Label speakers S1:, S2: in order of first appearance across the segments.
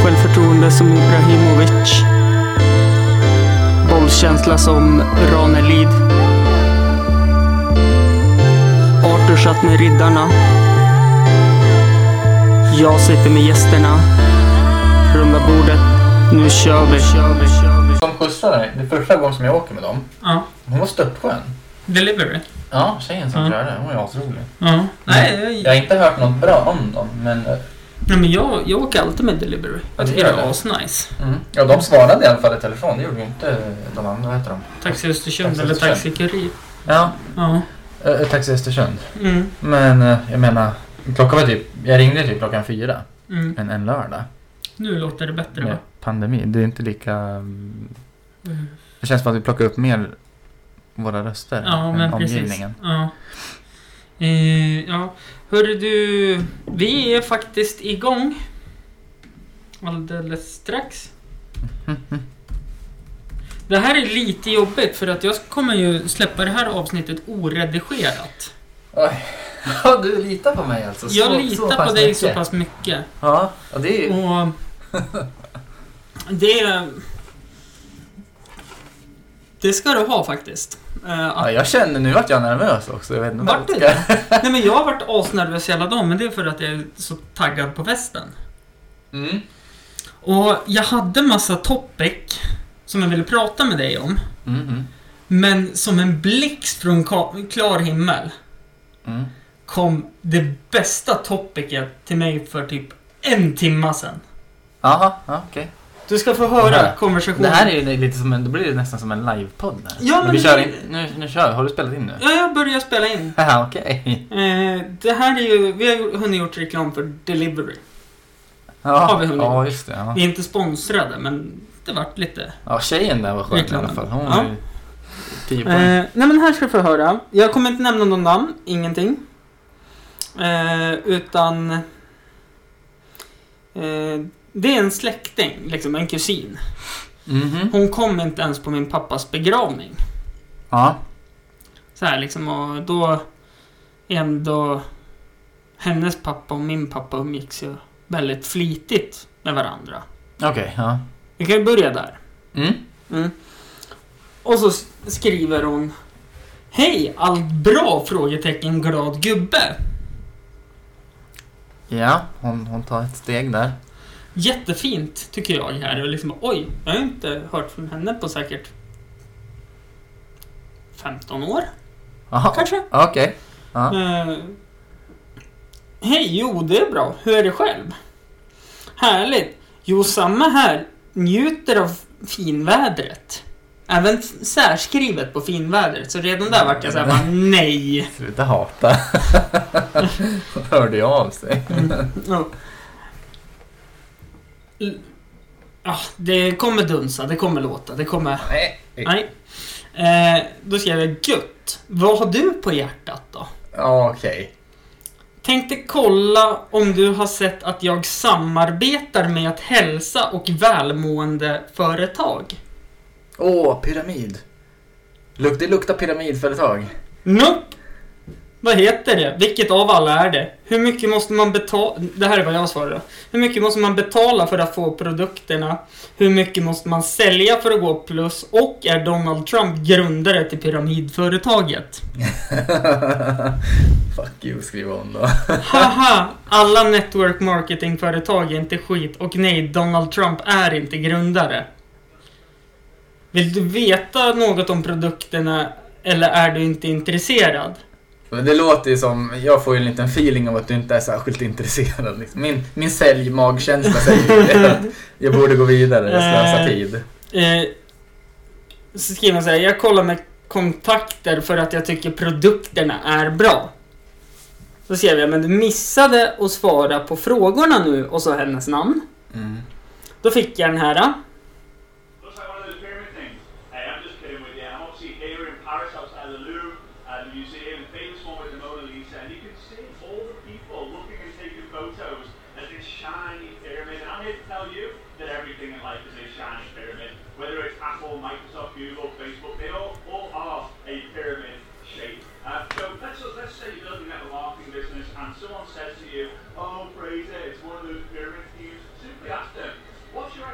S1: Bollsinne som Ibrahimovic. Bollkänsla som Ranelid. Arthur satt med riddarna. Jag sitter med gästerna. Runda bordet. Nu kör vi.
S2: De skjutsade mig. Det är första gången som jag åker med dem.
S1: Ja,
S2: Hon var stöpskön.
S1: delivery.
S2: Ja, tjejen som
S1: Ja.
S2: körde. Hon var asrolig.
S1: Ja. Nej, jag,
S2: Mm. Jag har inte hört något bra om dem, men... eh,
S1: nej, men jag, jag åker alltid med delivery. Jag tycker det är asnice.
S2: Mm. Ja, de svarade i alla fall i telefon. Det gjorde ju inte de andra. Vad heter de?
S1: Taxi Östersund
S2: Taxi
S1: eller
S2: Östersund.
S1: Taxi Kurir.
S2: Ja,
S1: Ja.
S2: eh, Taxi Östersund.
S1: Mm.
S2: Men eh, jag menar, klockan var typ... Jag ringde typ klockan fyra
S1: Mm.
S2: en, en lördag.
S1: Nu låter det bättre va?
S2: Med pandemi. Det är inte lika... mm,
S1: Mm.
S2: Det känns som att vi plockar upp mer våra röster
S1: Ja,
S2: än
S1: men precis.
S2: omgivningen.
S1: Ja. Eh, ja. Hörru du, vi är faktiskt igång. Alldeles strax. Det här är lite jobbigt för att jag kommer ju släppa det här avsnittet oredigerat.
S2: Ja, du litar på mig alltså?
S1: Jag litar på dig så pass mycket.
S2: Ja, och det är ju...
S1: Och det... Det ska du ha faktiskt. Eh, att
S2: Ja, jag känner nu att jag är nervös också. Jag vet inte
S1: Vart du det? Nej men jag har varit asnervös hela dagen, men det är för att jag är så taggad på festen.
S2: Mm.
S1: Och jag hade massa topic som jag ville prata med dig om,
S2: Mm, mm,
S1: men som en blixt från ka- klar himmel
S2: mm.
S1: kom det bästa topicet till mig för typ en timma sedan.
S2: Jaha, ja, okej.
S1: Du ska få höra
S2: Aha.
S1: konversationen.
S2: Det här är ju lite som en, då blir det nästan som en livepodd här.
S1: Ja, men
S2: vi
S1: det-
S2: kör in, nu, nu kör vi, har du spelat in nu?
S1: Ja, jag börjar spela in.
S2: Haha, okej.
S1: Eh, det här är ju... Vi har ju hunnit gjort reklam för Delivery. Har
S2: Ja,
S1: vi hunnit?
S2: ja, just det. Ja.
S1: Vi är inte sponsrade, men det vart lite...
S2: ja, tjejen där var skön i
S1: Reklamen.
S2: alla fall. Hon
S1: Ja.
S2: var ju 10
S1: Eh,
S2: poäng.
S1: nej men här ska du få höra. Jag kommer inte nämna någon namn, ingenting. Eh, utan... Eh, det är en släkting, liksom en kusin.
S2: Mhm.
S1: Hon kom inte ens på min pappas begravning.
S2: Ja.
S1: Så här liksom och då... Ändå... Hennes pappa och min pappa umgicks ju väldigt flitigt med varandra.
S2: Okej, ja.
S1: Vi kan ju börja där.
S2: Mm.
S1: Mm. Och så s- skriver hon Hej, allt bra? Frågetecken glad gubbe.
S2: Ja, hon, hon tar ett steg där.
S1: Jättefint tycker jag här och liksom oj, jag har ju inte hört från henne på säkert 15 år
S2: Jaha,
S1: kanske.
S2: okej. Ja.
S1: Eh, Hej, jo det är bra. Hur är det själv? Härligt. Jo, samma här. Njuter av finvädret. Även f- särskrivet på finvädret, så redan där vart jag såhär bara nej.
S2: Sluta hata. Hörde jag av sig.
S1: Ja. L- Ja, det kommer dunsa, det kommer låta, det kommer...
S2: Nej.
S1: Nej. Eh, då skrev jag gött. Vad har du på hjärtat då?
S2: Ja, Okej.
S1: Tänkte kolla om du har sett att jag samarbetar med ett hälsa och välmående företag.
S2: Åh, pyramid. Luk, det luktar pyramidföretag.
S1: Nope! Mm. Vad heter det? Vilket av alla är det? Hur mycket måste man betala... Det här är vad jag svarar då. Hur mycket måste man betala för att få produkterna? Hur mycket måste man sälja för att gå plus? Och är Donald Trump grundare till pyramidföretaget?
S2: Fuck you, skriver hon då.
S1: Haha! Alla network marketing-företag är inte skit och nej, Donald Trump är inte grundare. Vill du veta något om produkterna eller är du inte intresserad?
S2: Men det låter ju som, jag får ju en liten feeling av att du inte är särskilt intresserad. Liksom. Min, min säljmagkänsla säger ju det. att Jag borde gå vidare, jag slösar
S1: Eh.
S2: tid.
S1: Eh, så skriver man så här, jag kollar med kontakter för att jag tycker produkterna är bra. Så skrev jag, men du missade att svara på frågorna nu och så hennes namn.
S2: Mm.
S1: Då fick jag den här.
S3: Looks like one of those pyramid things. Hey, I'm just kidding with you. I'm obviously here in Paris outside the Louvre at the museum, the famous one with the Mona Lisa, and you can see all the people looking and taking photos at this shiny pyramid. And I'm here to tell you that everything in life is a shiny pyramid. Whether it's Apple, Microsoft, Google, Facebook, they all, all are a pyramid shape. Uh, so let's, let's say you're building up a marketing business and someone says to you, oh, Fraser, it's one of those pyramid schemes. Simply ask them, what's your oh,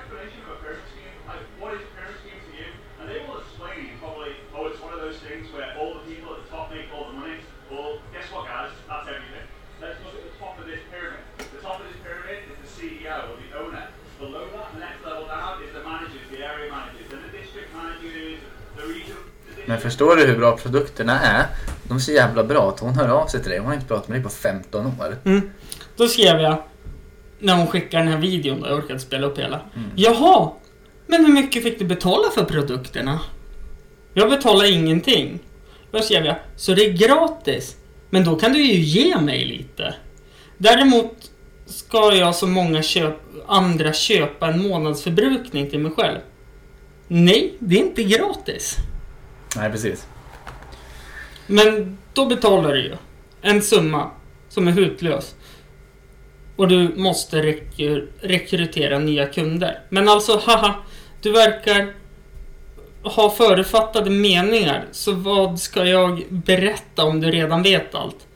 S3: E
S2: Men förstår du hur bra produkterna är? De är så jävla bra att hon hör av sig till dig. Hon har inte pratat med dig på 15 år.
S1: Mm. Då skrev jag, när hon skickade den här videon då, jag orkade inte spela upp hela. Jaha, men hur mycket fick du betala för produkterna? Jag betalade ingenting. Då skrev jag, så det är gratis. Men då kan du ju ge mig lite. Däremot ska jag som många köp, andra köpa en månadsförbrukning till mig själv. Nej, det är inte gratis.
S2: Nej, precis.
S1: Men då betalar du ju en summa som är hutlös. Och du måste rekry- rekrytera nya kunder. Men alltså, haha, du verkar ha förutfattade meningar. Så vad ska jag berätta om du redan vet allt?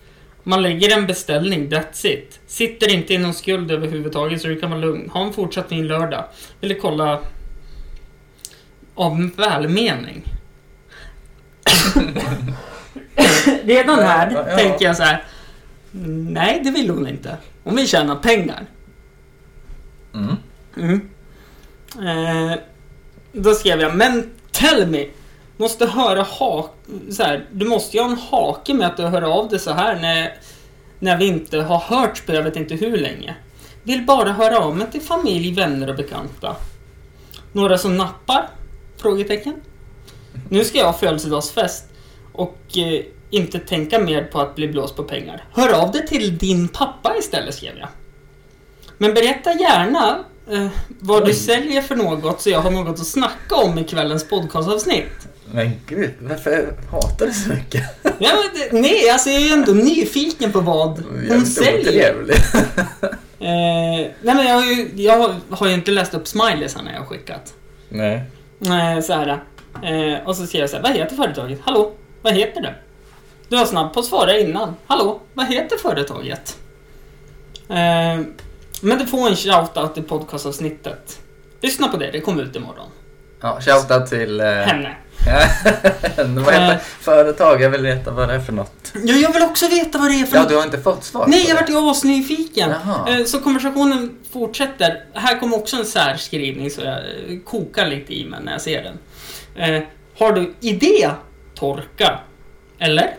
S1: Man lägger en beställning, that's it. Sitter inte i någon skuld överhuvudtaget så du kan vara lugn. Ha en fortsatt fin lördag. Eller kolla av välmening. Redan här
S2: Ja, ja.
S1: tänker jag så här. Nej, det vill hon inte. Hon vill tjäna pengar.
S2: Mm.
S1: Mm. Eh, då skrev jag, men tell me! Måste höra ha så här, Du måste ju ha en hake med att du hör av dig så här när, när vi inte har hört på jag vet inte hur länge. Vill bara höra av mig till familj, vänner och bekanta. Några som nappar? Frågetecken. Nu ska jag ha födelsedagsfest och eh, inte tänka mer på att bli blåst på pengar. Hör av dig till din pappa istället, skrev jag. Men berätta gärna eh, vad du säljer för något så jag har något att snacka om i kvällens podcastavsnitt.
S2: Men gud, varför hatar du så mycket?
S1: Ja, men det, nej, alltså jag är ju ändå nyfiken på vad hon
S2: Jävligt
S1: säljer.
S2: otrevlig.
S1: Eh, nej, men jag har, ju, jag har ju inte läst upp smileysarna jag har skickat.
S2: Nej.
S1: Eh, så här, eh, och så skrev jag så här, vad heter företaget? Hallå, vad heter det? Du var snabb på att svara innan. Hallå, vad heter företaget? Eh, men du får en shoutout i podcastavsnittet. Lyssna på det, det kommer ut imorgon.
S2: Ja, shoutout till... eh,
S1: Henne.
S2: vad heter
S1: Eh.
S2: företag? Jag vill veta vad det är för något.
S1: Ja, jag vill också veta vad det är för
S2: Ja,
S1: något.
S2: du har inte fått svar?
S1: Nej,
S2: på
S1: jag
S2: det.
S1: vart ju asnyfiken.
S2: Jaha.
S1: Eh, Så konversationen fortsätter. Här kommer också en särskrivning så jag eh, kokar lite i mig när jag ser den. Eh, Har du idé? Torka. Eller?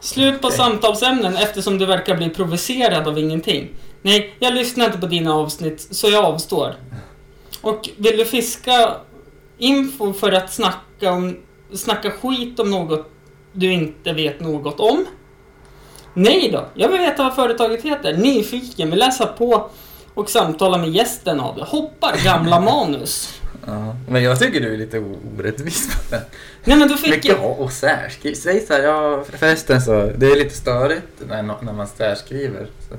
S1: Slut på
S2: Okej.
S1: samtalsämnen eftersom du verkar bli provocerad av ingenting. Nej, jag lyssnar inte på dina avsnitt så jag avstår. Och vill du fiska info för att snacka, om, snacka skit om något du inte vet något om? Nej då, jag vill veta vad företaget heter. Nyfiken, vill läsa på och samtala med gästen av det. Hoppar gamla manus.
S2: Ja, men jag tycker du är lite orättvis på den.
S1: Nej men då fick
S2: Mycket
S1: jag...
S2: A och särskriv. Säg så här, ja, förresten så, det är lite störigt när, nå- när man särskriver. Så.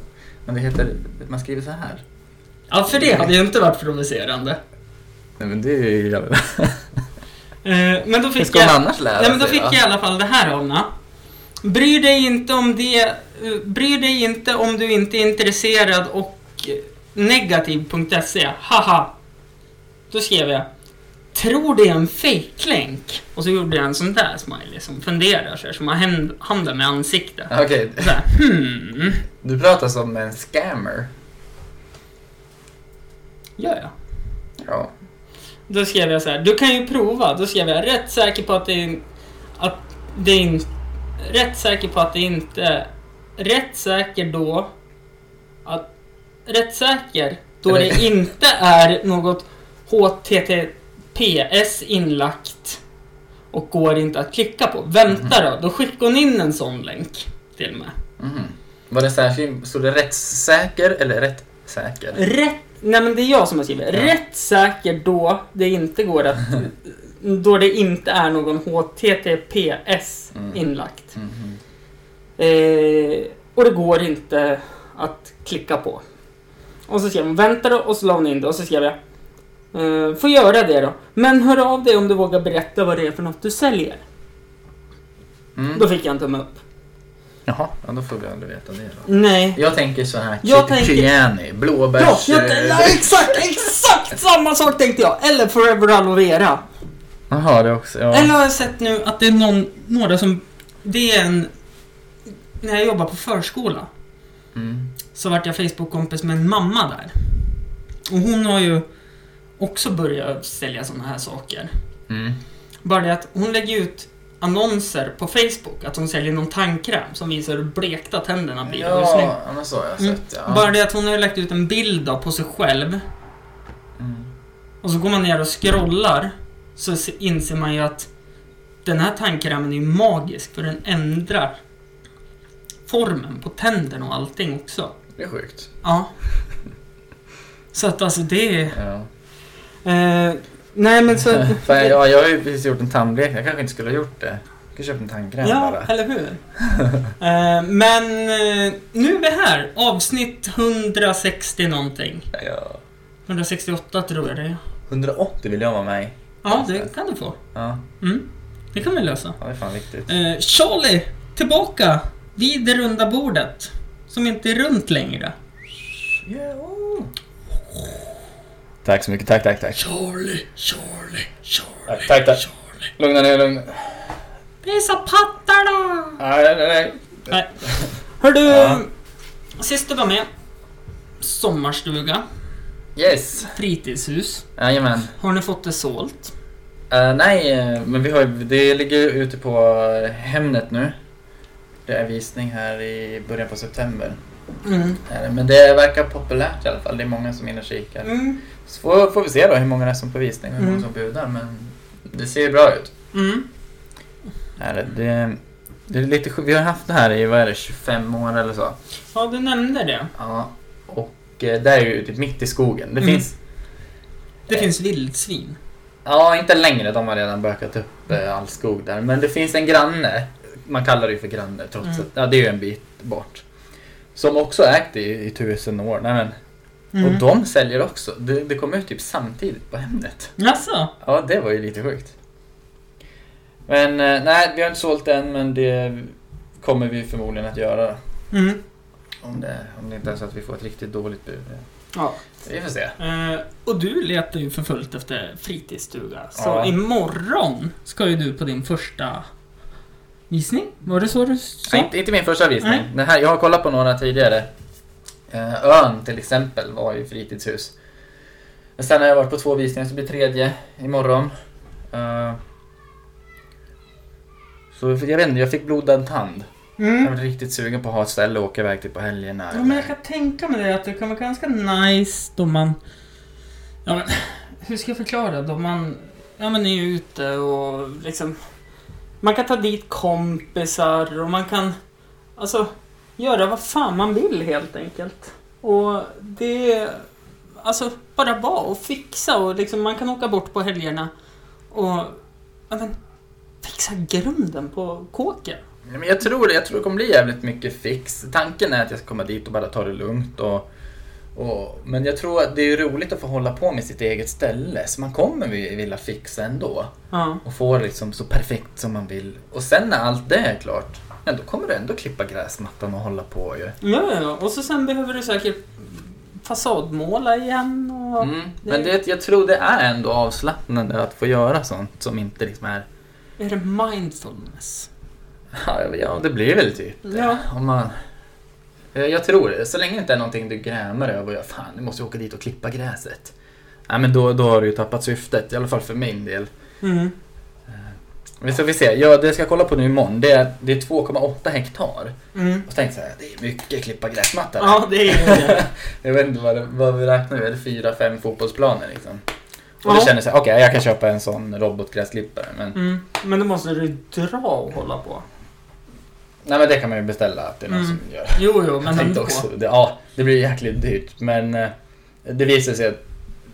S2: Men det heter, man skriver så här.
S1: Ja, för det hade ju inte varit provocerande.
S2: Nej men det är ju jävla...
S1: Eh, men då
S2: Hur
S1: fick
S2: ska man
S1: jag...
S2: annars lära
S1: Nej men då
S2: sig,
S1: fick jag i alla fall det här Anna. Bryr dig inte om det... eh, Bryr dig inte om du inte är intresserad och eh, negativ.se. Haha. Då skrev jag. Tror det är en fejklänk. Och så gjorde jag en sån där smiley som funderar så här, som har händ- handen med ansiktet.
S2: Ja. Okej,
S1: Så här, hmm,
S2: du pratar som en scammer.
S1: gör jag?
S2: Ja.
S1: Då skrev jag så här, du kan ju prova. Då skrev jag, rätt säker på att det, är- att det är in, Rätt säker på att det inte... Rätt säker då... Att, rätt säker då det inte är något HTTPS inlagt och går inte att klicka på. Vänta då, då skickar hon in en sån länk till mig.
S2: Mhm. Var det särskild, stod det rättssäker eller rättssäker?
S1: Rätt... Nej men det är jag som har skrivit.
S2: Ja.
S1: Rätt säker då det inte går att... då det inte är någon HTTPS
S2: Mm.
S1: inlagt.
S2: Mhm.
S1: Eh, och det går inte att klicka på. Och så skrev hon vänta då och så la hon in det och så skrev jag eh, Får göra det då. Men hör av dig om du vågar berätta vad det är för något du säljer.
S2: Mm.
S1: Då fick jag en tumme upp.
S2: Jaha, ja, då får vi aldrig veta det då.
S1: Nej.
S2: Jag tänker så här,
S1: Jag
S2: ki-
S1: tänker-
S2: Kiani, blåbärs...
S1: Ja, jag, ja, exakt, exakt samma sak tänkte jag! Eller Forever Aloe Vera.
S2: Jaha, det också. Ja.
S1: Eller har jag sett nu att det är någon, några som... Det är en... När jag jobbade på förskola
S2: Mm.
S1: så vart jag Facebook-kompis med en mamma där. Och hon har ju också börjat sälja sådana här saker.
S2: Mm.
S1: Bara det att hon lägger ut annonser på Facebook att hon säljer någon tandkräm som visar hur blekta tänderna blir och hur snygg.
S2: ja, men så har jag
S1: Mm.
S2: sett. Ja.
S1: Bara det att hon har ju lagt ut en bild då på sig själv
S2: Mm.
S1: och så går man ner och scrollar så se- inser man ju att den här tandkrämen är ju magisk för den ändrar formen på tänderna och allting också.
S2: Det är sjukt.
S1: Ja. Så att alltså det är...
S2: Ja.
S1: Eh, nej men så...
S2: Fan, jag, jag har ju precis gjort en tandblek. Jag kanske inte skulle ha gjort det. Jag kan köpa en tandkräm
S1: Ja,
S2: bara.
S1: eller hur? Eh, men eh, nu är vi här. Avsnitt 160 någonting.
S2: Ja.
S1: 168 tror jag det är.
S2: 180 vill jag vara med i.
S1: Ja, det kan du få.
S2: Ja,
S1: Mm. Det kan vi lösa.
S2: ja det är fan viktigt.
S1: Eh, Charlie, tillbaka vid det runda bordet. Som inte är runt längre.
S2: Tack så mycket. Tack, tack, tack.
S1: Charlie, Charlie, Charlie,
S2: Tack, tack.
S1: Charlie.
S2: Lugna ner, lugna
S1: Visa pattarna!
S2: Nej, nej, nej.
S1: Nej. Hör du,
S2: Ja.
S1: sist du var med. Sommarstuga,
S2: Yes.
S1: fritidshus.
S2: Jajamän.
S1: Har ni fått det sålt?
S2: Eh, nej, eh, men vi har, ju- det ligger ju ute på eh, Hemnet nu. Det är visning här i början på september.
S1: Mm.
S2: Är det. Men det verkar populärt i alla fall. Det är många som är inne och kikar.
S1: Mm.
S2: Så får, får vi se då hur många det är som på visning och hur
S1: Mm.
S2: många som budar. Men det ser ju bra ut.
S1: Mm.
S2: Är det, det, det är lite, sj- vi har haft det här i vad är det, 25 år eller så.
S1: Ja, du nämnde det.
S2: Ja, och eh, det är ju typ mitt i skogen. Det
S1: Mm.
S2: finns
S1: Det
S2: Eh.
S1: finns vildsvin.
S2: Ja, inte längre. De har redan bökat upp eh, all skog där. Men det finns en granne. Man kallar det ju för granne trots
S1: Mm.
S2: att ja, det är ju en bit bort. Som också har ägt det i, i tusen år. Nej, men,
S1: Mm.
S2: Och de säljer också. Det, det kom ut typ samtidigt på Hemnet.
S1: Jaså?
S2: Ja, det var ju lite sjukt. Men eh, nej, vi har inte sålt än men det kommer vi förmodligen att göra.
S1: Mm.
S2: Om det, om det inte är så att vi får ett riktigt dåligt bud.
S1: Ja.
S2: Vi får se.
S1: Eh, och du letar ju för fullt efter fritidsstuga. Så
S2: Ja.
S1: imorgon ska ju du på din första visning. Var det så du
S2: Nej,
S1: sa?
S2: inte, inte min första visning.
S1: Nej.
S2: Den här, jag har kollat på några tidigare. Eh, Ön till exempel var ju fritidshus. Men sen har jag varit på två visningar, så blir tredje imorgon. Eh, så jag vet inte, jag fick blodad tand. Jag
S1: Mm.
S2: var riktigt sugen på att ha ett ställe att åka iväg till på helgerna.
S1: Ja, men jag kan tänka mig det att det kan vara ganska nice då man... Ja, men, hur ska jag förklara? Då man ja, men är ute och liksom... Man kan ta dit kompisar och man kan... Alltså, göra vad fan man vill helt enkelt. Och det... Alltså, bara vara och fixa och liksom man kan åka bort på helgerna och... Ja, men, fixa grunden på kåken.
S2: Nej, men jag tror det. Jag tror det kommer bli jävligt mycket fix. Tanken är att jag ska komma dit och bara ta det lugnt. Och, och, men jag tror att det är roligt att få hålla på med sitt eget ställe. Så man kommer vi- vilja fixa ändå.
S1: Ja.
S2: Och få det liksom så perfekt som man vill. Och sen när allt det är klart, ja, då kommer du ändå klippa gräsmattan och hålla på ju.
S1: Ja, ja, ja. Och så sen behöver du säkert fasadmåla igen och...
S2: Mm. Men det, jag tror det är ändå avslappnande att få göra sånt som inte liksom är...
S1: Är det mindfulness?
S2: Ja, Ja, det blir väl typ det.
S1: Ja.
S2: Om man... Eh, Jag tror det. Så länge det inte är någonting du grämer över och gör, fan nu måste jag åka dit och klippa gräset. Nej men då, då har du ju tappat syftet, i alla fall för min del.
S1: Mm.
S2: Men så vi se, ja, det jag ska kolla på nu imorgon, det är, det är 2,8 hektar.
S1: Mm.
S2: Och så tänkte jag, det är mycket klippa gräsmatta. där.
S1: Ja, det är det.
S2: Jag vet inte vad, det, vad vi räknar med, fyra, fem fotbollsplaner liksom. Och
S1: Ja.
S2: då känner jag så här, okej jag kan köpa en sån robotgräsklippare. Men,
S1: Mm. Men då måste du dra och hålla på.
S2: nej, men det kan man ju beställa att det är någon
S1: Mm.
S2: som gör.
S1: Jo, jo,
S2: Jag
S1: men
S2: tänkte
S1: ändå.
S2: också, det, ja, det blir jäkligt dyrt men eh, det visar sig att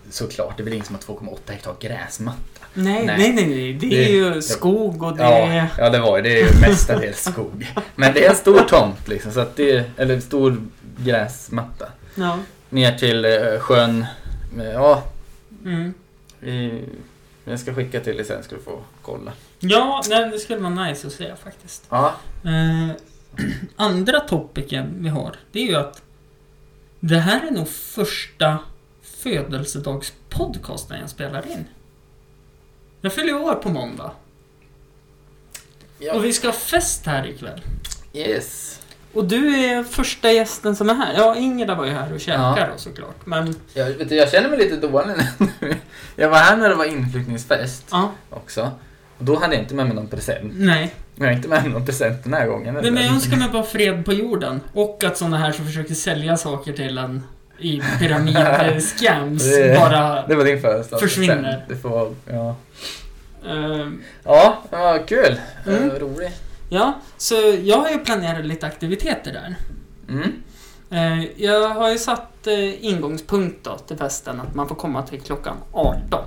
S2: såklart, det blir ingen som har 2,8 hektar gräsmatta.
S1: Nej,
S2: Nej.
S1: nej, nej, nej. Det är
S2: Det-
S1: ju skog och det
S2: Ja,
S1: är...
S2: ja det var ju, det är ju mestadels skog. Men det är en stor tomt liksom, så att det, eller en stor gräsmatta.
S1: Ja.
S2: Ner till eh, sjön, Eh, ja,
S1: Mm.
S2: vi, jag ska skicka till dig sen ska du få kolla.
S1: Ja, nej, det skulle vara nice att se faktiskt.
S2: Ja,
S1: Eh, andra topicen vi har, det är ju att det här är nog första födelsedagspodcasten jag spelar in. Jag fyller år på måndag.
S2: Ja.
S1: Och vi ska ha fest här ikväll.
S2: yes.
S1: Och du är första gästen som är här. Ja, Ingela var ju här och käkade
S2: Ja.
S1: då såklart. Men,
S2: Jag, vet du, jag känner mig lite dålig nu. Jag var här när det var inflyttningsfest
S1: ja.
S2: också. Och Då hann jag inte med mig någon present.
S1: Nej.
S2: Jag har inte med mig någon present den här gången.
S1: Nej, men jag önskar mig bara fred på jorden. Och att sådana här som försöker sälja saker till en i pyramid-scams
S2: Det-
S1: bara...
S2: Det var din födelsedag.
S1: Försvinner.
S2: Du får, ja.
S1: eh,
S2: ja, det var kul.
S1: Mm.
S2: Eh, Rolig.
S1: ja, så jag har ju planerat lite aktiviteter där.
S2: Mm.
S1: Eh, jag har ju satt eh, ingångspunkt då till festen att man får komma till klockan 18.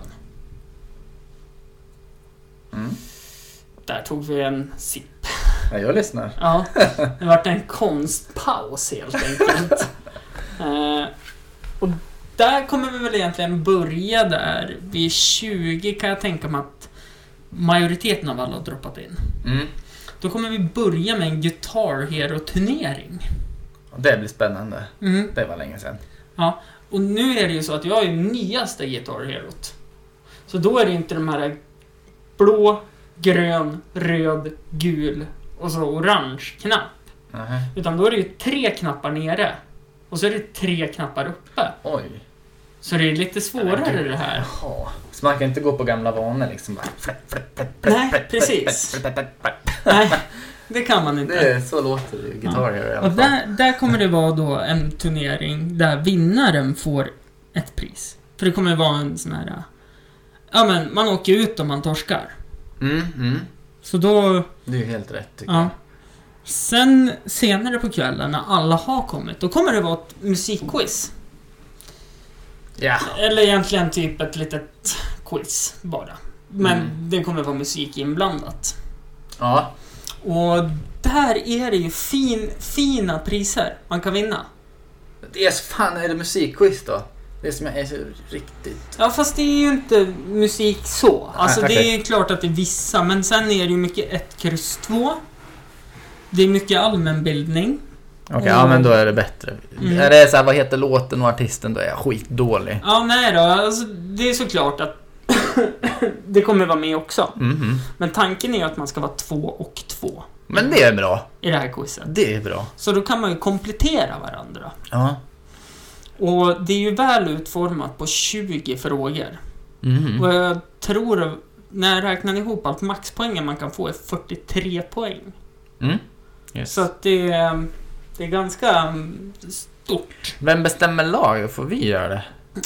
S2: Mm.
S1: Där tog vi en sipp.
S2: Ja, jag lyssnar.
S1: Ja, det vart en konstpaus helt enkelt. Eh, och där kommer vi väl egentligen börja där. Vid 20 kan jag tänka mig att majoriteten av alla har droppat in.
S2: Mm.
S1: Då kommer vi börja med en Guitar Hero-turnering.
S2: Och Det blir spännande.
S1: Mm.
S2: Det var länge sedan.
S1: Ja, och nu är det ju så att jag är nyaste Guitar Herot. Så då är det inte de här blå, grön, röd, gul och så orange knapp.
S2: Nähä.
S1: Utan då är det ju tre knappar nere. Och så är det tre knappar uppe.
S2: Oj.
S1: Så det är lite svårare det här.
S2: Jaha. Så man kan inte gå på gamla vanor liksom bara... fläpp, fläpp, fläpp, fläpp,
S1: Nej,
S2: fläpp,
S1: precis.
S2: fläpp, fläpp, fläpp, fläpp.
S1: Nej, det kan man
S2: Det
S1: inte.
S2: är, så låter det ju. Gitarr Hero i
S1: Och
S2: alla fall.
S1: där, där kommer det vara då en turnering där vinnaren får ett pris. För det kommer vara en sån här... Ja men, man åker ut om man torskar.
S2: Mm, mm.
S1: Så då...
S2: Det är ju helt rätt tycker
S1: Ja. Sen senare på kvällen när alla har kommit, då kommer det vara ett musikquiz.
S2: jag. Ja.
S1: Eller egentligen typ ett litet quiz bara. Men
S2: Mm.
S1: det kommer vara musik inblandat.
S2: Ja.
S1: Och där är det ju fin, fina priser man kan vinna.
S2: Det är så fan, är det musikquiz då? Det som jag är så riktigt...
S1: Ja, fast det är ju inte musik så. Alltså
S2: Nej,
S1: det är klart att det är vissa, men sen är det ju mycket 1, kryss 2. Det är mycket allmänbildning.
S2: Okej,
S1: Mm. ja, men då
S2: är det bättre.
S1: Mm.
S2: Är det så vad heter låten och artisten, då är jag skitdålig.
S1: Ja, nej då, alltså det är såklart att det kommer vara med också. Men tanken är ju att man ska vara två och två
S2: Mhm. Men det är bra.
S1: i det här quizet.
S2: Det är bra.
S1: Så då kan man ju komplettera varandra.
S2: Ja.
S1: Och det är ju väl utformat på 20 frågor.
S2: Mhm.
S1: Och jag tror, när jag räknar ihop allt, maxpoängen man kan få är 43 poäng.
S2: Mm. Yes.
S1: Så att det, är- det är ganska mm, stort.
S2: Vem bestämmer lag? Får vi göra det?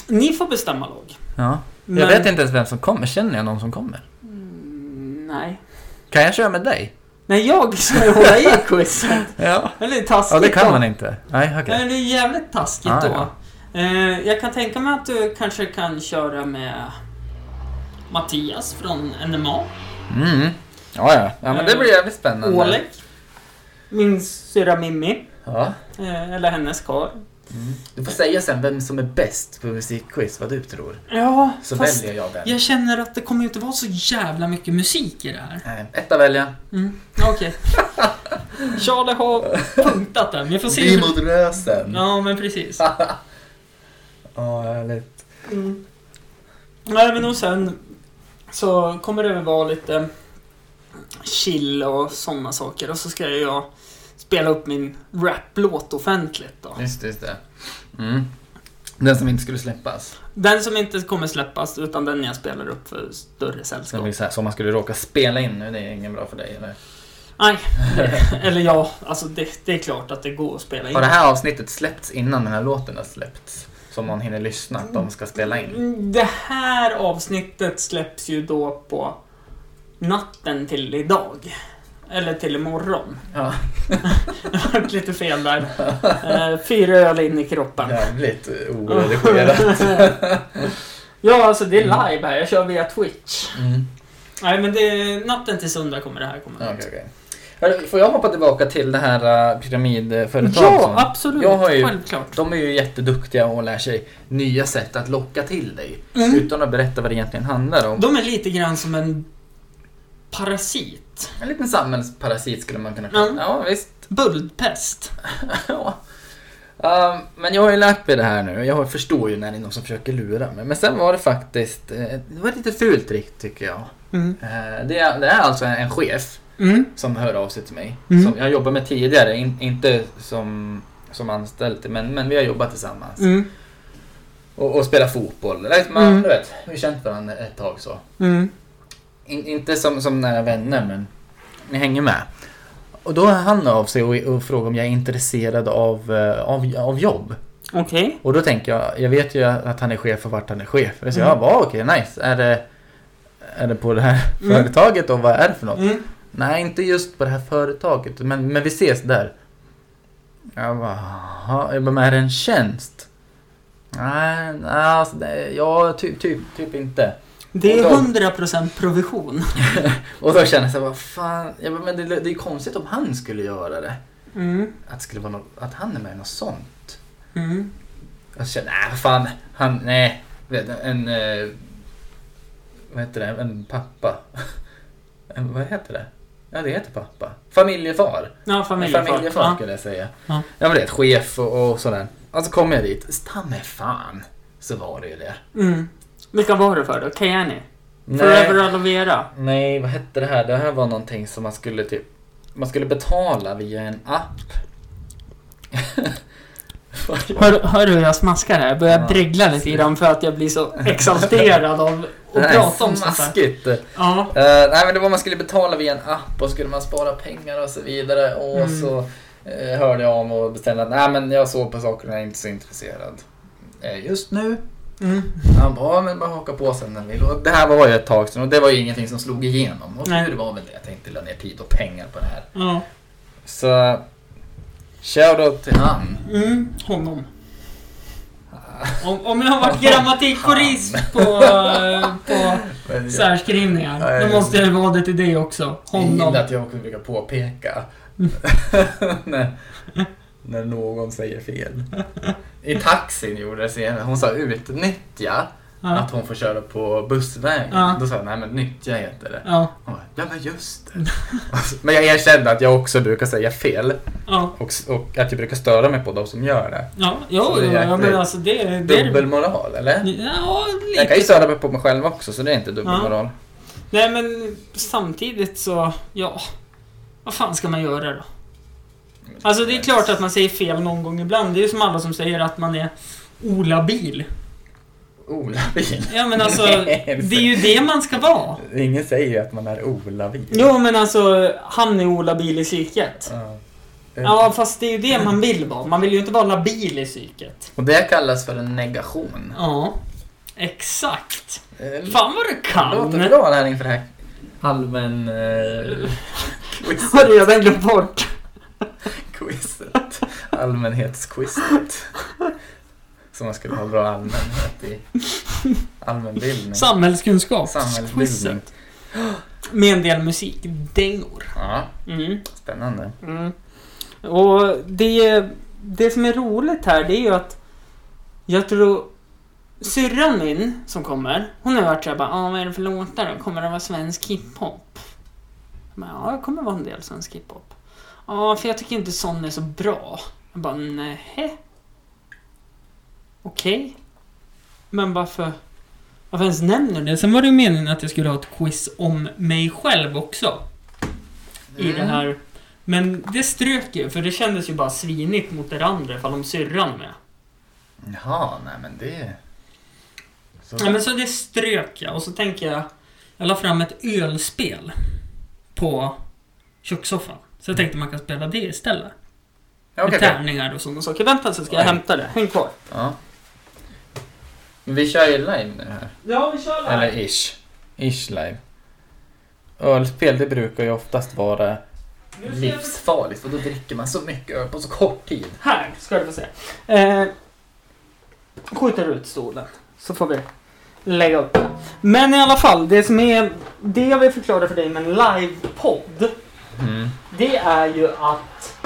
S1: Ni får bestämma lag.
S2: Ja. Jag
S1: Men-
S2: vet inte ens vem som kommer. Känner jag någon som kommer?
S1: Mm, Nej.
S2: Kan jag köra med dig?
S1: Nej, jag ska ju hålla i quizet.
S2: Ja.
S1: Det är lite taskigt
S2: Ja, det
S1: då.
S2: kan man inte. Nej, okej.
S1: Nej, det är jävligt taskigt
S2: Ah,
S1: då.
S2: ja.
S1: Eh, jag kan tänka mig att du kanske kan köra med Mattias från NMA.
S2: Mm. Ja, ja. ja, men det blir jävligt spännande.
S1: Oleg. Min syrra Mimmi.
S2: Ja.
S1: Eh, eller hennes karl.
S2: Du får säga sen vem som är bäst på musikquiz, vad du tror.
S1: Ja,
S2: Så
S1: fast
S2: väljer jag den.
S1: jag känner att det kommer ju inte vara så jävla mycket musik i det här.
S2: Nej, Etta välja.
S1: Mm, Okej. Charlie har punktat den. Vi får se.
S2: Vi
S1: hur-
S2: mot rösen.
S1: Ja, men precis.
S2: Ja, härligt.
S1: Mm. Nej, men och sen så kommer det väl vara lite chill och sådana saker. Och så ska jag spela upp min raplåt offentligt då.
S2: Just det, just det. Mm. Den som inte skulle släppas.
S1: Den som inte kommer släppas, utan den jag spelar upp för större
S2: Sen
S1: sällskap.
S2: blir det så här, som man skulle råka spela in nu, det är ingen bra för dig eller?
S1: Nej, det- eller ja, alltså det, det är klart att det går att spela in.
S2: Har det här avsnittet släppts innan den här låten har släppts? Så man hinner lyssna att de ska spela in?
S1: Mm, Det här avsnittet släpps ju då på natten till idag. Eller till imorgon.
S2: Ja,
S1: Det har varit lite fel där. Eh, Fyra öl in i kroppen.
S2: jävligt
S1: Mm.
S2: oredigerat.
S1: Ja, alltså det är live här. Jag kör via Twitch.
S2: Mm.
S1: Nej, men det är natten till söndag kommer det här komma
S2: Okej,
S1: ut.
S2: okej. Hörru, Får jag hoppa tillbaka till det här äh, pyramidföretaget?
S1: Ja,
S2: som-
S1: absolut.
S2: Jag har ju-
S1: Självklart.
S2: De är ju jätteduktiga och lär sig nya sätt att locka till dig
S1: Mm.
S2: utan att berätta vad det egentligen handlar om.
S1: De är lite grann som en parasit.
S2: En liten samhällsparasit skulle man kunna kalla
S1: Mm.
S2: Ja, visst.
S1: Buldpest.
S2: Ja. Ehm, men jag har ju lärt mig det här nu och jag förstår ju när det är någon som försöker lura mig. Men sen var det faktiskt, eh, det var lite fult trick tycker jag.
S1: Mm.
S2: Eh, det, är, det är alltså en, en chef
S1: Mm.
S2: som hör av sig till mig.
S1: Mm.
S2: Som jag jobbar med tidigare, in, inte som, som anställd, men, men vi har jobbat tillsammans.
S1: Mm.
S2: Och, och spelat fotboll. Eller, Man,
S1: Mm.
S2: Du vet, vi har känt varandra ett tag så.
S1: Mm.
S2: in, inte som, som nära vänner, men ni hänger med. Och då hör han av sig och, och frågar om jag är intresserad av, eh, av, av jobb.
S1: Okej.
S2: Och då tänker jag, jag vet ju att han är chef och vart han är chef. Så jag säger, ja, vad, okej, nice. Är det, är det på det här
S1: Mm.
S2: företaget och vad är det för något?
S1: Mm.
S2: Nej, inte just på det här företaget, men, men vi ses där. Jag bara, "Jaha." jag bara, men är det en tjänst? Nej, nej, alltså, det- ja, typ, typ, typ inte.
S1: Det är
S2: Och då-
S1: 100% provision.
S2: Och då känner jag så här, vad fan, jag bara, men det, det är ju konstigt om han skulle göra det.
S1: Mm.
S2: Att, det skulle vara något, att han är med i något sånt.
S1: Mm.
S2: Jag känner, nej vad fan. Han, nej. Vet, du, en... Eh, vad heter det? En pappa. En, vad heter det? Ja, det heter pappa. Familjefar.
S1: Ja,
S2: Familjefar,
S1: familjefar.
S2: familjefar
S1: Ja.
S2: skulle jag säga.
S1: Ja.
S2: Jag var rätt chef och, och sådär. Och så kom jag dit. Stamme fan. Så var det ju det.
S1: Mm. Vilka var det för då? Kayani? Forever
S2: Nej,
S1: Aloe Vera?
S2: nej, vad hette det här? Det här var någonting som man skulle typ... Man skulle betala via en app.
S1: Hör, hör du hur jag smaskar här? Jag börjar
S2: Ja.
S1: dregla lite grann för att jag blir så exalterad av
S2: Det
S1: att
S2: här är
S1: prata om sånt här.
S2: smaskigt.
S1: Ja.
S2: Eh, nej men det var man skulle betala via en app och skulle man spara pengar och så vidare och
S1: Mm.
S2: så eh, hörde jag om och bestämde att nej men jag såg på saker och jag är inte så intresserad eh, just nu.
S1: Mm.
S2: Han bara, "Ja, men bara haka på sen när du vill. Och det här var ju ett tag sedan och det var ju ingenting som slog igenom. Och
S1: Nej.
S2: tur var väl det att jag inte la ner tid och pengar på det här.
S1: ja.
S2: Så shoutout till han.
S1: Mm. Honom. Om, om jag har varit grammatikkorist på, eh, på särskrivningar, då måste jag vara det till dig också.
S2: Jag gillar
S1: Honom.
S2: att jag också brukar påpeka när, när någon säger fel. I taxin gjorde det senare. Hon sa utnyttja
S1: Ja.
S2: att hon får köra på bussvägen.
S1: Ja.
S2: Då sa jag nej men nyttja heter det.
S1: Ja.
S2: Hon bara, ja men just det. men jag erkände att jag också brukar säga fel
S1: Ja.
S2: och, och att jag brukar störa mig på de som gör det.
S1: Ja, jo,
S2: Så det är
S1: jo, ja, men
S2: jäkligt
S1: alltså det... det
S2: Dubbelmoral eller?
S1: Ja,
S2: Jag kan
S1: lite.
S2: ju störa mig på mig själv också så det är inte dubbelmoral.
S1: Nej, men samtidigt så, ja... Vad fan ska man göra då? Alltså det är klart att man säger fel någon gång ibland. Det är ju som alla som säger att man är olabil.
S2: Olabil.
S1: Ja men alltså,
S2: Nej,
S1: det är ju det man ska vara.
S2: Ingen säger ju att man är olabil.
S1: Jo men alltså, han är olabil i psyket.
S2: Ja.
S1: Ja fast det är ju det man vill vara. Man vill ju inte vara labil i psyket.
S2: Och det kallas för en negation.
S1: Ja. Exakt.
S2: Eh,
S1: Fan vad du
S2: Det
S1: kan!
S2: låter bra här inför det här allmän... Eh,
S1: Har
S2: quiz,
S1: du redan glömt bort?
S2: quizet. Allmänhetsquizet. Som man skulle ha bra allmänhet i. Allmänbildning.
S1: Samhällskunskap.
S2: Samhällsbildning.
S1: Med en del musikdängor.
S2: Ja,
S1: Mm.
S2: spännande.
S1: Mm. Och det, det som är roligt här det är ju att jag tror syrran min som kommer, hon har varit såhär bara ah, vad är det för låtar då? Kommer det vara svensk hiphop? Men ja, det kommer vara en del svensk hiphop. Ja, för jag tycker inte sån är så bra. Jag bara nähä? Okej. Men varför? Varför ens nämner du det? Sen var det ju meningen att jag skulle ha ett quiz om mig själv också i det här. Men det strök ju, för det kändes ju bara svinigt mot er andra ifall de syrran med.
S2: Mm. Jaha, nej men det... Så,
S1: Ja, men så det strök jag och så tänker jag, jag la fram ett ölspel på kökssoffan. Så jag tänkte man kan spela det istället.
S2: Ja, okej,
S1: Med
S2: okej.
S1: tärningar och sådana saker. Vänta så ska jag
S2: Oj.
S1: hämta det. Häng kvar.
S2: Ja. Men vi kör ju live nu här.
S1: Ja, vi kör
S2: Eller ish. Ish live. Ölspel det brukar ju oftast vara livsfarligt för då dricker man så mycket öl på så kort tid.
S1: Här ska du få se. Eh, skjuter ut stolen så får vi lägga upp det. Men i alla fall, det som är det jag vill förklara för dig med en livepodd.
S2: Mm.
S1: Det är ju att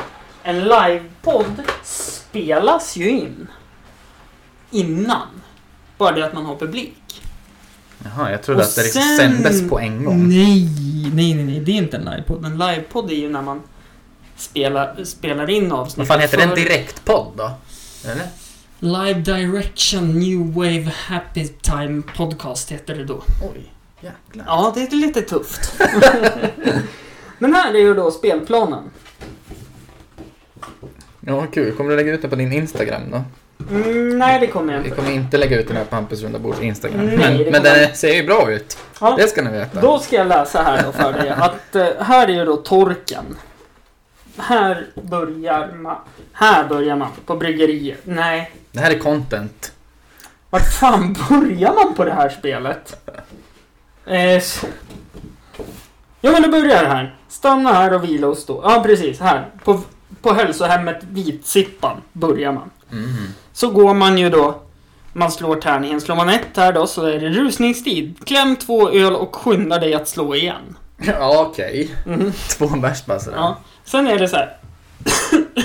S1: en livepodd spelas ju in innan. Bara det att man har publik.
S2: Jaha, jag trodde
S1: Och
S2: att det liksom
S1: sen-
S2: sändes på en gång.
S1: Nej, nej, nej, nej, det är inte en livepodd. En livepodd är ju när man spelar, spelar in avsnitt.
S2: Vad fan heter den? Direktpodd då? Eller?
S1: Live Direction New Wave Happy Time Podcast heter det då.
S2: Oj, jäklar.
S1: Ja, det är lite tufft. Men här är ju då spelplanen.
S2: Ja, kul. Kommer du lägga ut den på din Instagram då?
S1: Mm, nej, det kommer jag
S2: Vi
S1: inte.
S2: kommer inte lägga ut den här på Hampus runda bords Instagram.
S1: Nej, det
S2: men men
S1: kommer-
S2: den ser ju bra ut.
S1: Ja,
S2: Det ska ni veta.
S1: då ska jag läsa här då för dig. Att, eh, här är ju då torken. Här börjar man. Här börjar man. På bryggerier. Nej.
S2: Det här är content.
S1: Vart fan börjar man på det här spelet? Eh, s- ja men det börjar här. Stanna här och vila och stå. Ja precis, här. På, på hälsohemmet Vitsippan börjar man.
S2: Mm.
S1: Så går man ju då. Man slår tärningen. Slår man ett här då så är det rusningstid. Kläm två öl och skynda dig att slå igen.
S2: Ja, okej.
S1: Mhm.
S2: Två bärs bara sådär.
S1: Ja. Sen är det så här.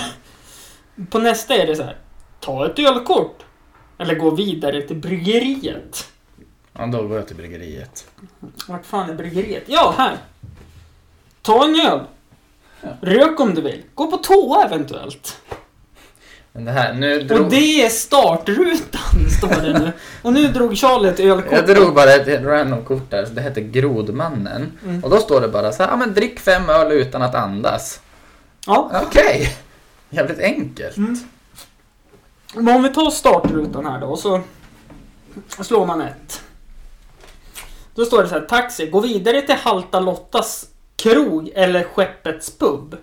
S1: på nästa är det så här. Ta ett ölkort. Eller gå vidare till bryggeriet.
S2: Ja, då går jag till bryggeriet.
S1: Vart fan är bryggeriet? Ja, här! Ta en öl. Rök om du vill. Gå på toa eventuellt.
S2: Men det här, nu drog...
S1: Och det är startrutan, står det nu. Och nu drog Charlie ett
S2: Jag
S1: ölkort.
S2: drog bara ett ett random kort där, så det hette Grodmannen.
S1: Mm.
S2: Och då står det bara så här, ah, men drick fem öl utan att andas.
S1: Ja,
S2: Okej! Jävligt enkelt.
S1: Mm. men om vi tar startrutan här då och så slår man ett. Då står det så här, taxi, gå vidare till Halta Lottas krog eller Skeppets pub.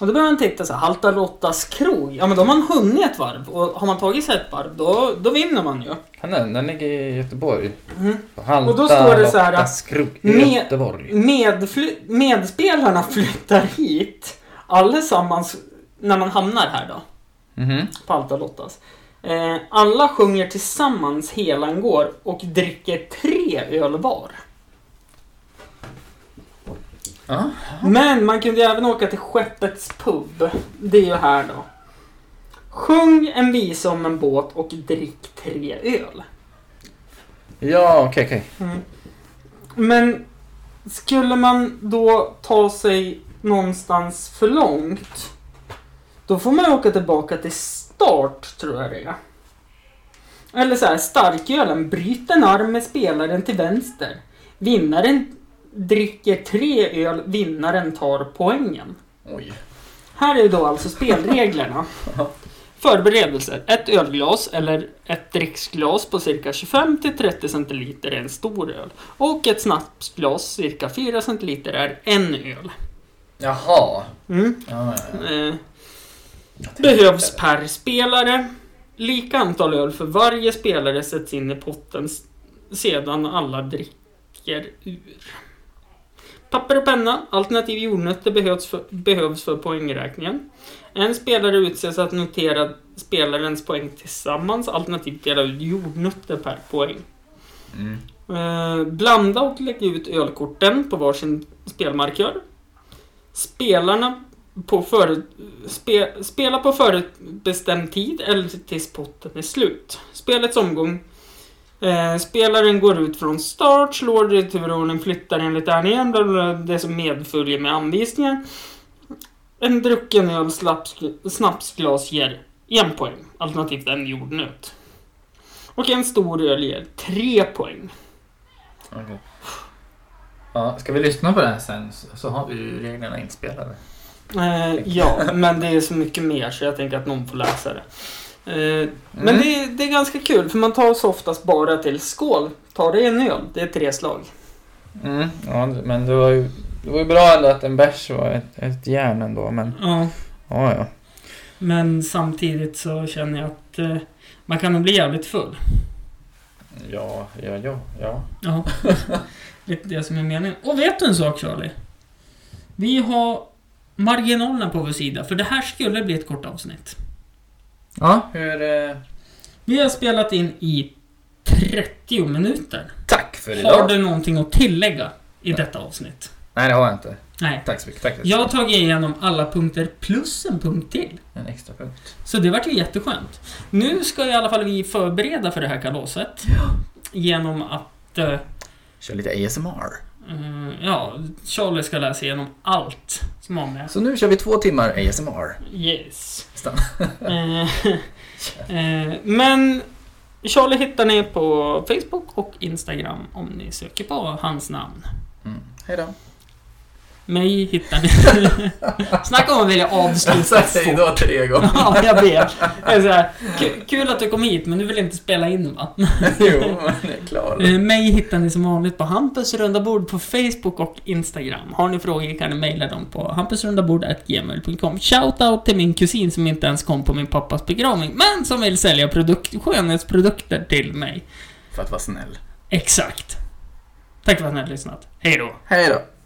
S1: Och då börjar man titta så här, Halta Lottas krog, ja men då har man hunnit ett varv och har man tagit sig ett varv då, då vinner man ju.
S2: Han är, den ligger i Göteborg.
S1: Mm.
S2: På Halta,
S1: Och då står det så här,
S2: Lottas krog i
S1: med-
S2: Göteborg.
S1: Medfly- medspelarna flyttar hit allesammans när man hamnar här då,
S2: Mhm.
S1: på Alta Lottas. Eh, alla sjunger tillsammans helan går och dricker tre öl var.
S2: Ja.
S1: Men man kunde ju även åka till Skeppets pub. Det är ju här då. Sjung en visa om en båt och drick tre öl.
S2: Ja, okej, okej.
S1: Men skulle man då ta sig någonstans för långt då får man ju åka tillbaka till start tror jag det är. Eller så här, starkölen. Bryt en arm med spelaren till vänster. Vinnaren dricker tre öl, vinnaren tar poängen.
S2: Oj.
S1: Här är då alltså spelreglerna. Förberedelser. Ett ölglas eller ett dricksglas på cirka 25-30 centiliter är en stor öl. Och ett snapsglas cirka 4 centiliter är en öl.
S2: Jaha.
S1: Mm.
S2: Ja, ja, ja.
S1: Eh, behövs per spelare. Lika antal öl för varje spelare sätts in i potten s- sedan alla dricker ur. Papper och penna, alternativ jordnötter behövs för, behövs för poängräkningen. En spelare utses att notera spelarens poäng tillsammans, alternativt dela ut jordnötter per poäng.
S2: Mm.
S1: Eh, blanda och lägg ut ölkorten på varsin spelmarkör. Spelarna på före, spe, spela på förutbestämd tid eller tills potten är slut. Spelets omgång. Eh, spelaren går ut från start, slår returordning, flyttar enligt tärningen, bla, bla, bla, det som medföljer med anvisningar. En drucken öl slaps, snapsglas ger en poäng, alternativt en jordnöt. Och en stor öl ger tre poäng.
S2: Okej. Ja, ska vi lyssna på den sen så så har vi ju reglerna inspelade.
S1: Eh, ja, men det är så mycket mer så jag tänker att någon får läsa det. Eh, Men
S2: Mm.
S1: det, det är ganska kul för man tar sig oftast bara till skål. Ta dig en öl, det är tre slag.
S2: Mm, ja, men det var ju, det var ju bra ändå att en bärs var ett, ett järn ändå, men
S1: Ja,
S2: ja, ja.
S1: men samtidigt så känner jag att eh, man kan nog bli jävligt full.
S2: Ja, ja, ja, ja.
S1: Ja, lite det som är meningen. Och vet du en sak Charlie? Vi har marginalerna på vår sida för det här skulle bli ett kort avsnitt.
S2: Ja, hur... Eh,
S1: Vi har spelat in i 30 minuter.
S2: tack för
S1: Har
S2: idag!
S1: du någonting att tillägga i detta avsnitt?
S2: Nej, det har jag inte.
S1: Nej.
S2: Tack så mycket. Tack.
S1: Jag har tagit igenom alla punkter plus en punkt till.
S2: En extra punkt.
S1: Så det vart ju jätteskönt. Nu ska i alla fall vi förbereda för det här kalaset. Genom att... eh,
S2: Kör lite ASMR.
S1: eh, ja, Charlie ska läsa igenom allt som har med.
S2: Så nu kör vi två timmar ASMR.
S1: Yes.
S2: Stanna.
S1: Eh, eh, men Charlie hittar ni på Facebook och Instagram om ni söker på hans namn.
S2: Mm. Hej då.
S1: Mig hittar ni. Snacka om att vilja avsluta
S2: Säg
S1: fort.
S2: då tre gånger.
S1: Ja, jag vet. Det är så här, ku- kul att du kom hit, men du vill inte spela in va?
S2: jo, men det är klart.
S1: Eh, Mig hittar ni som vanligt på Hampus runda bord på Facebook och Instagram. Har ni frågor kan ni mejla dem på hampusrundabord.gmail.com. Shoutout till min kusin som inte ens kom på min pappas begravning, men som vill sälja produkt, skönhetsprodukter till mig.
S2: För att vara snäll.
S1: Exakt. Tack för att ni har lyssnat. Hej då.
S2: Hej då.